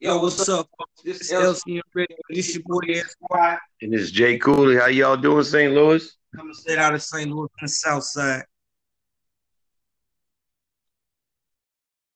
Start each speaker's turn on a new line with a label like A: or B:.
A: Yo, what's up? folks? This is LC and Rick. This your boy Squad.
B: And it's Jay Cooley. How y'all doing, St. Louis?
A: Coming straight out of St. Louis on the South Side.